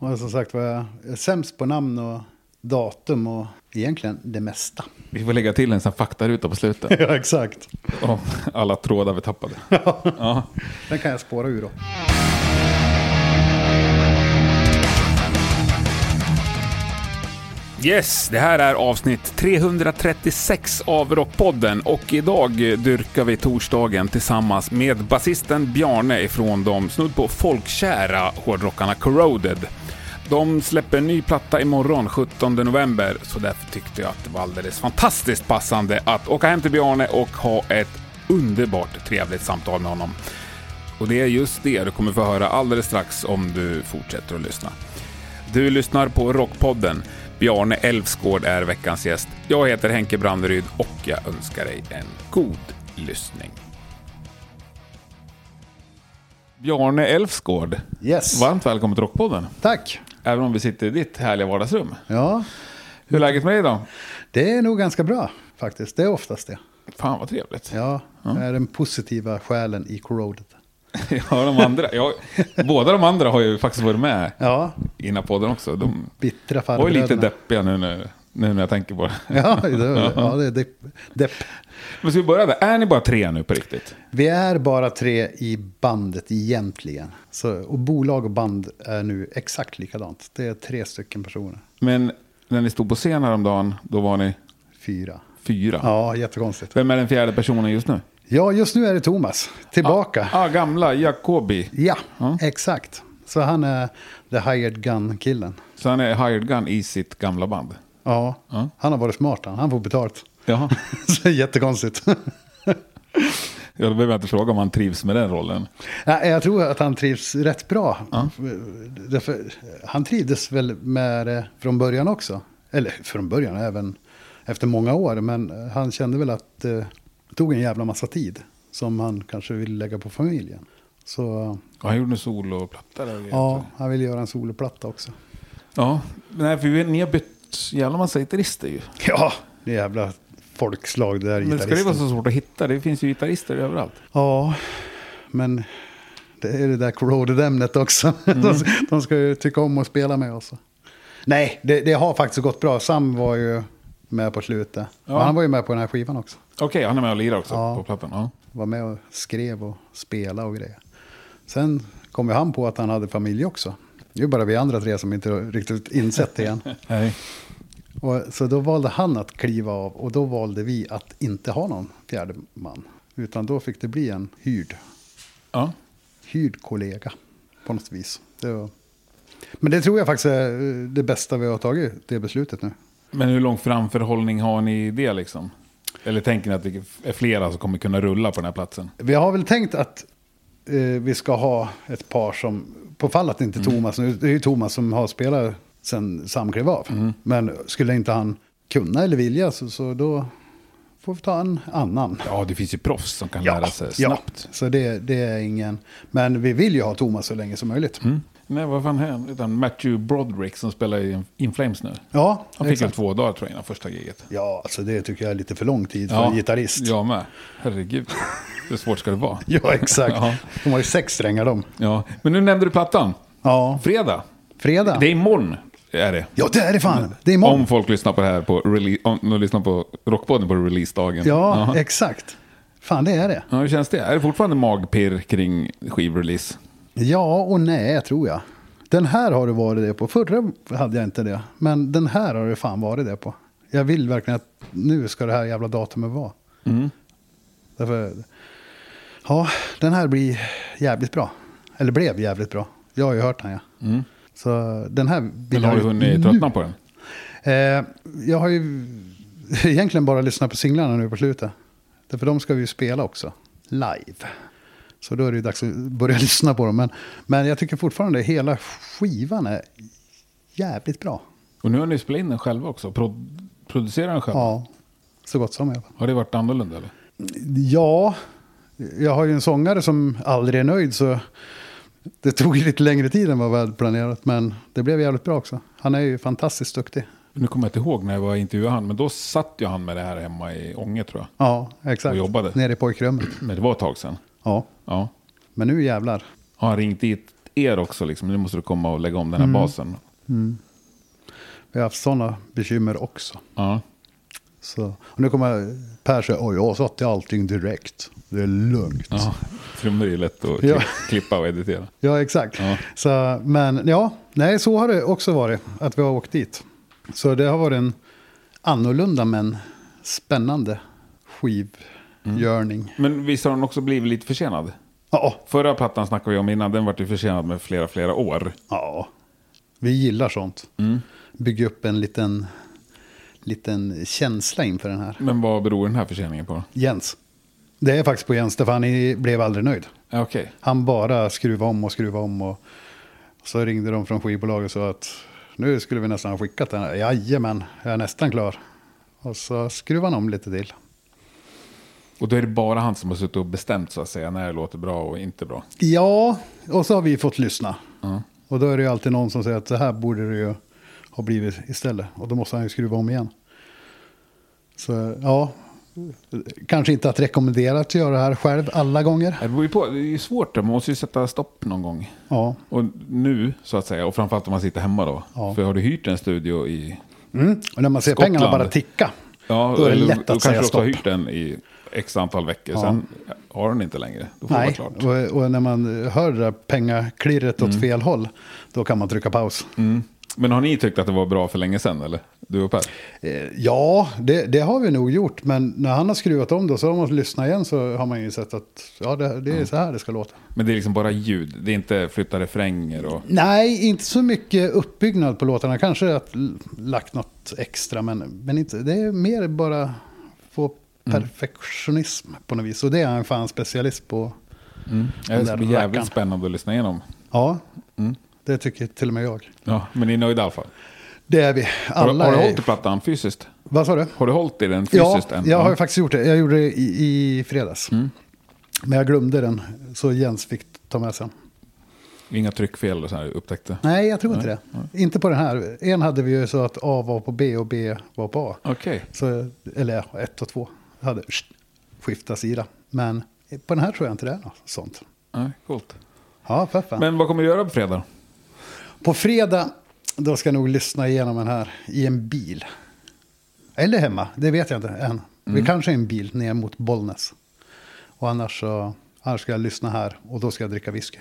Och som sagt var, jag är sämst på namn och datum och egentligen det mesta. Vi får lägga till en sån faktaruta på slutet. Ja, exakt. Om alla trådar vi tappade. Ja. Den kan jag spåra ur då. Yes, det här är avsnitt 336 av Rockpodden och idag dyrkar vi torsdagen tillsammans med basisten Bjarne ifrån de snudd på folkkära hårdrockarna Corroded. De släpper en ny platta imorgon, 17 november, så därför tyckte jag att det var alldeles fantastiskt passande att åka hem till Bjarne och ha ett underbart trevligt samtal med honom. Och det är just det du kommer få höra alldeles strax om du fortsätter att lyssna. Du lyssnar på Rockpodden. Bjarne Elfsgård är veckans gäst. Jag heter Henke Branderyd och jag önskar dig en god lyssning. Bjarne Elfsgård, Yes. varmt välkommen till Rockpodden. Tack. Även om vi sitter i ditt härliga vardagsrum. Ja, Hur är läget med dig då? det är nog ganska bra faktiskt. Det är oftast det. Fan vad trevligt. Ja, det är den positiva själen i Corroded. Ja, de andra, ja, båda de andra har ju faktiskt varit med Ja, i den här podden också. De bittra var ju farbröderna. lite deppiga nu när, nu när jag tänker på det. Ja, det, ja, det är depp, depp. Men ska vi börja där? Är ni bara tre nu på riktigt? Vi är bara tre i bandet egentligen. Så, och bolag och band är nu exakt likadant. Det är tre stycken personer. Men när ni stod på scen häromdagen, då var ni Fyra. fyra. Ja, jättekonstigt. Vem är den fjärde personen just nu? Ja, just nu är det Thomas. Tillbaka. Ah, gamla Jacobi. Ja, exakt. Så han är the hired gun-killen. Så han är hired gun i sitt gamla band. Ja, Ja. han har varit smart han. Han får betalt. Jaha. Så jättekonstigt. Ja, då behöver jag inte fråga om han trivs med den rollen. Nej, Jag tror att han trivs rätt bra. Därför, han trivdes väl med det från början också. Eller från början, även efter många år. Men han kände väl att det tog en jävla massa tid. Som han kanske ville lägga på familjen. Så Ja, han gjorde en soloplatta där och grejer, tror ja, jag. han ville göra en soloplatta också. ja. Nej, för vi- ni har bytt jävla massa gitarrister ju. Ja, det jävla folkslag det där Men ska det vara så svårt att hitta? Det finns ju gitarrister överallt. Ja, men det är det där corroded-ämnet också. Mm. De, de ska ju tycka om att spela med oss. Nej, det, det har faktiskt gått bra. Sam var ju med på slutet. Ja. Och Han var ju med på den här skivan också. Okej, han är med och lirar också Ja. på plattan. Ja. Var med och skrev och spelade och grejer. Sen kom ju han på att han hade familj också. Det är ju bara vi andra tre som inte riktigt insett det än. Nej. Och, så då valde han att kliva av och då valde vi att inte ha någon fjärde man. Utan då fick det bli en hyrd Ja. hyrd kollega på något vis. Det var... Men det tror jag faktiskt är eh, det bästa vi har tagit, det beslutet nu. Men hur lång framförhållning har ni i det liksom? Eller tänker ni att det är flera som kommer kunna rulla på den här platsen? Vi har väl tänkt att eh, vi ska ha ett par som, på fall att inte Thomas, nu, det är ju Thomas som har spelat sen Sam klev av. Men skulle inte han kunna eller vilja så, så då får vi ta en annan. Ja, det finns ju proffs som kan lära sig ja. snabbt. så det, det är ingen... Men vi vill ju ha Thomas så länge som möjligt. Nej, vad fan är han? Utan Matthew Broderick som spelar i In- In Flames nu. Ja, Han fick väl exakt. två dagar tror jag innan första giget. Ja, alltså det tycker jag är lite för lång tid för en gitarrist. Jag med. Herregud. Hur svårt ska det vara? Ja, exakt. Ja. De har ju sex strängar de. Ja. Men nu nämnde du plattan. Ja, Fredag. fredag. Det är imorgon. Är det. Ja, det är det fan. Det är imorgon. Om folk lyssnar på det här på, rele- om de lyssnar på Rockpodden på releasedagen. Ja, exakt. Fan, det är det. Ja, hur känns det? Är det fortfarande magpirr kring skivrelease? Ja och nej, tror jag. Den här har det varit det på. Förra hade jag inte det. Men den här har det fan varit det på. Jag vill verkligen att nu ska det här jävla datumet vara. Mm. Därför, ja, den här blir jävligt bra. Eller blev jävligt bra. Jag har ju hört den, ja. Mm. Så den här vill Eller har jag du ju hunnit nu. tröttna på den? Eh, jag har ju egentligen bara lyssnat på singlarna nu på slutet. Därför de ska vi ju spela också, live. Så då är det ju dags att börja lyssna på dem. Men, men jag tycker fortfarande hela skivan är jävligt bra. Och nu har ni spelat in den själva också. Pro- producerar den själva. Ja, så gott som i alla fall. Har det varit annorlunda eller? Ja, jag har ju en sångare som aldrig är nöjd så det tog ju lite längre tid än vad vi hade planerat. Men det blev jävligt bra också. Han är ju fantastiskt duktig. Nu kommer jag inte ihåg när jag var och intervjuade han, men då satt ju han med det här hemma i Ånge tror jag. Ja, exakt. Och jobbade. Nere i pojkrummet. Men det var ett tag sedan. Ja, Ja. men nu jävlar. Har han ringt dit er också liksom? Nu måste du komma och lägga om den här Mm. basen. Vi har haft sådana bekymmer också. Ja. Så, och nu kommer Per säga, oj, jag satte allting direkt. Det är lugnt. ja. Trummor är ju lätt att Ja. kli- klippa och editera. Ja, exakt. Ja. Så, men ja, nej, så har det också varit, att vi har åkt dit. Så det har varit en annorlunda men spännande skivgörning. Men visst har den också blivit lite försenad? Ja, Förra plattan snackade vi om innan, den vart ju försenad med flera, flera år. ja, vi gillar sånt. Mm. Bygga upp en liten, liten känsla inför den här. Men vad beror den här förseningen på? Jens. Det är faktiskt på Jens, därför han blev aldrig nöjd. Ja, Okej. Han bara skruva om och skruva om. Och så ringde de från skivbolaget och sa att nu skulle vi nästan ha skickat den. här. Jajamän, jag är nästan klar. Och så skruvade han om lite till. Och då är det bara han som har suttit och bestämt så att säga när det låter bra och inte bra. Ja, och så har vi fått lyssna. Och då är det ju alltid någon som säger att det här borde det ju ha blivit istället. Och då måste han ju skruva om igen. Så ja, kanske inte att rekommendera att göra det här själv alla gånger. Det beror ju på, det är ju svårt, det. man måste ju sätta stopp någon gång. Ja, Och nu så att säga, och framförallt om man sitter hemma då. Ja. För har du hyrt en studio i... mm. och när man ser Skottland. pengarna bara ticka. Ja, då är det eller- lätt då att säga kanske du också stopp. har hyrt den i x antal veckor, sen har den inte längre. Då får det Nej, vara klart. och, och när man hör det där pengaklirret åt fel håll, då kan man trycka paus. Mm. Men har ni tyckt att det var bra för länge sedan, eller? Du och Per? Eh, Ja, det, det har vi nog gjort, men när han har skruvat om det så har man lyssnat igen så har man ju sett att ja, det, Mm. det är så här det ska låta. Men det är liksom bara ljud, det är inte flytta refränger och... Nej, inte så mycket uppbyggnad på låtarna. Kanske att l- lagt något extra, men, men inte. det är mer bara få Mm. perfektionism på något vis. Och det är han fan specialist på. Ja, Det ska där bli jävligt rackaren. spännande att lyssna igenom. Ja, Mm. det tycker till och med jag. Ja, men ni är nöjda i alla fall. Det är vi. Har, Alla har du är- hållit i plattan fysiskt? Vad sa du? Har du hållit i den Ja, fysiskt än? Mm. jag har ju faktiskt gjort det. Jag gjorde det i, i fredags. Men jag glömde den, så Jens fick ta med sen. Inga tryckfel eller så här upptäckte? Nej, jag tror inte det. Inte på den här. En hade vi ju så att A var på B och B var på A. Okej. Så, eller ja, ett och två. Jag hade sh- skifta sida. Men på den här tror jag inte det är något sånt. Nej, coolt. Ja, för fan. Men vad kommer du göra på fredag? På fredag, då ska jag nog lyssna igenom den här i en bil. Eller hemma, det vet jag inte än. Vi kanske är en bil ner mot Bollnäs. Och annars, så, annars ska jag lyssna här och då ska jag dricka whisky.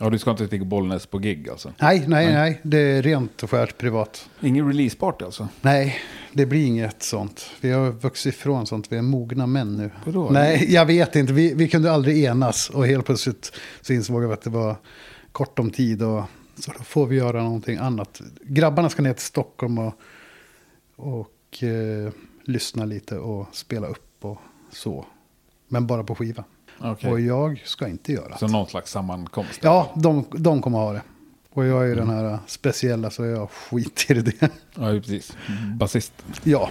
Ja, du ska inte till Bollnäs på gig alltså? Nej, nej, nej, det är rent och skärt privat. Ingen releaseparty alltså? Nej, det blir inget sånt. Vi har vuxit ifrån sånt, vi är mogna män nu. Vadå? Nej, jag vet inte, vi, vi kunde aldrig enas och helt plötsligt så insåg vi att det var kort om tid och så då får vi göra någonting annat. Grabbarna ska ner till Stockholm och, och eh, lyssna lite och spela upp och så. Men bara på skiva. Okej. Och jag ska inte göra Så någon slags sammankomst? Ja, de, de kommer ha det. Och jag är ju den här speciella så jag skiter i det. Ja, precis. Mm. Basist. Ja,